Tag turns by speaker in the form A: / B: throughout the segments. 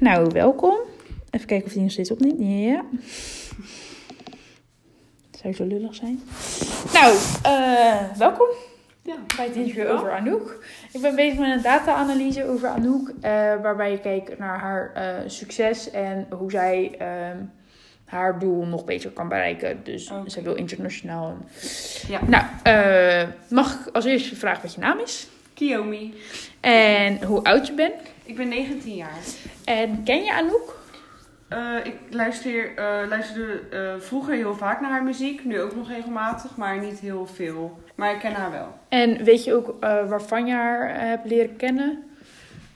A: nou welkom. Even kijken of die nog steeds opneemt. Ja. Zou zo lullig zijn. Nou, eh, welkom
B: Ja,
A: bij het interview
B: dankjewel.
A: over Anouk. Ik ben bezig met een data-analyse over Anouk, eh, waarbij ik kijk naar haar eh, succes en hoe zij ehm, haar doel nog beter kan bereiken. Dus
B: Oké.
A: zij wil internationaal.
B: Ja.
A: Nou, eh, mag ik als eerste vragen wat je naam is
B: Kiyomi.
A: en hoe oud je bent?
B: Ik ben 19 jaar.
A: En ken je Anouk?
B: Eh, ik luister, eh, luisterde eh, vroeger heel vaak naar haar muziek. Nu ook nog regelmatig, maar niet heel veel. Maar ik ken haar wel.
A: En weet je ook eh, waarvan je haar eh, hebt leren kennen?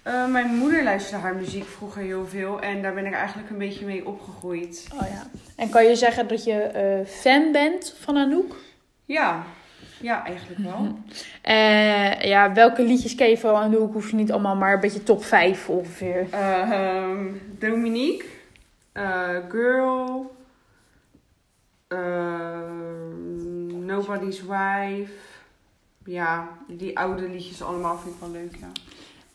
B: Eh, mijn moeder luisterde haar muziek vroeger heel veel. En daar ben ik eigenlijk een beetje mee opgegroeid.
A: Oh ja. En kan je zeggen dat je eh, fan bent van Anouk?
B: Ja, ja eigenlijk wel.
A: Eh, ja, welke liedjes ken je van Anouk? Hoef je niet allemaal, maar een beetje top 5 ongeveer.
B: Eh, ehm, Dominique. eh, girl. ehm, Nobody's Wife. Ja, die oude liedjes allemaal vind ik wel leuk, ja.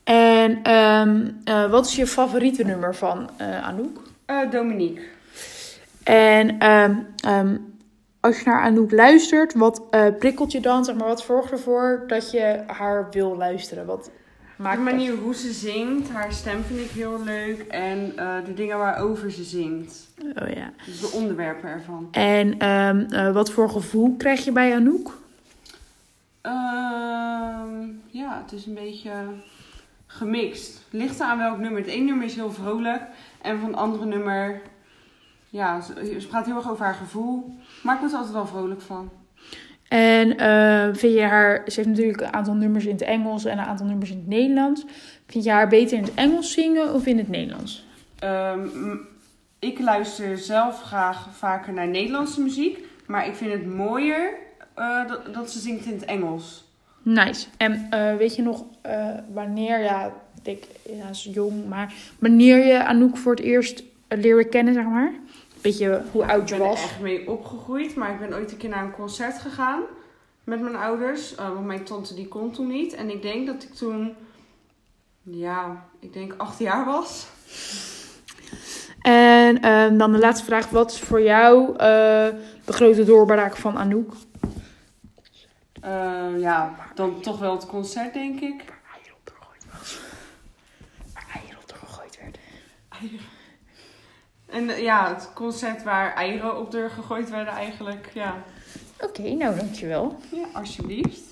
A: En ehm, eh, wat is je favoriete nummer van eh, Anouk?
B: Eh, Dominique.
A: En ehm, ehm, als je naar Anouk luistert, wat eh, prikkelt je dan? Zeg maar, wat zorgt ervoor dat je haar wil luisteren? Wat maakt
B: de
A: dat-
B: manier hoe ze zingt, haar stem vind ik heel leuk. En eh, de dingen waarover ze zingt.
A: Oh ja.
B: Dus de onderwerpen ervan.
A: En ehm, eh, wat voor gevoel krijg je bij Anouk?
B: Ehm, ja, het is een beetje gemixt. Ligt er aan welk nummer. Het ene nummer is heel vrolijk. En van het andere nummer... Ja, ze, ze praat heel erg over haar gevoel. Maar ik word er altijd wel vrolijk van.
A: En eh, vind je haar, ze heeft natuurlijk een aantal nummers in het Engels en een aantal nummers in het Nederlands. Vind je haar beter in het Engels zingen of in het Nederlands?
B: Ehm, m- ik luister zelf graag vaker naar Nederlandse muziek. Maar ik vind het mooier eh, dat, dat ze zingt in het Engels.
A: Nice. En eh, weet je nog eh, wanneer, ja, ik denk, ja, ze is jong, maar wanneer je Anouk voor het eerst eh, leerde kennen, zeg maar? Beetje hoe oud je
B: Ik ben er
A: was.
B: echt mee opgegroeid, maar ik ben ooit een keer naar een concert gegaan met mijn ouders. eh, want mijn tante die kon toen niet. En ik denk dat ik toen, ja, ik denk acht jaar was.
A: En ehm, dan de laatste vraag, wat is voor jou eh, de grote doorbraak van Anouk?
B: Eh, ja, dan toch wel het concert, denk ik.
A: Waar hij erop doorgegooid was. Waar hij erop doorgegooid werd.
B: En eh, ja, het concert waar eieren op deur gegooid werden eigenlijk. Ja,
A: Oké, nou dankjewel.
B: ja alsjeblieft.